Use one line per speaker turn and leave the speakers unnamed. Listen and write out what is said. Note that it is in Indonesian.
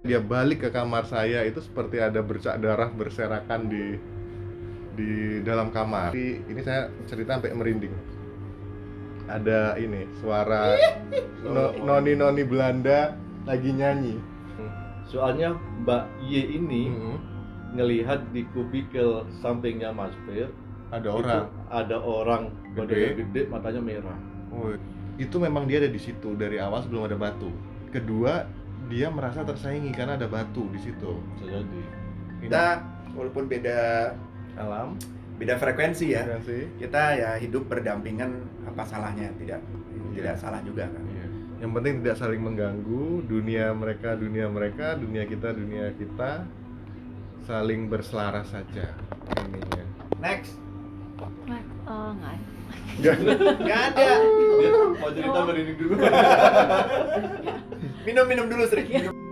dia balik ke kamar saya itu seperti ada bercak darah berserakan di di dalam kamar. Ini, ini saya cerita sampai merinding. Ada ini suara no- noni-noni Belanda lagi nyanyi.
Soalnya Mbak Y ini
Mhm.
ngelihat di kubikel sampingnya Mas Fir
Ada
itu
orang.
ada orang
Gede.
badannya gede matanya merah.
Woi. Itu memang dia ada di situ dari awal sebelum ada batu. Kedua, dia merasa tersaingi karena ada batu di situ.
Bisa jadi.
Ini
Kita walaupun beda
Alam.
beda frekuensi ya,
kan sih?
kita ya hidup berdampingan apa salahnya? Tidak tidak salah juga kan.
Yang penting tidak saling mengganggu dunia mereka, dunia mereka, dunia kita, dunia kita saling berselaras saja ininya.
Next,
Oh, enggak.
nggak ada.
Dia mau cerita merinding dulu.
Minum minum dulu Sri. Minum.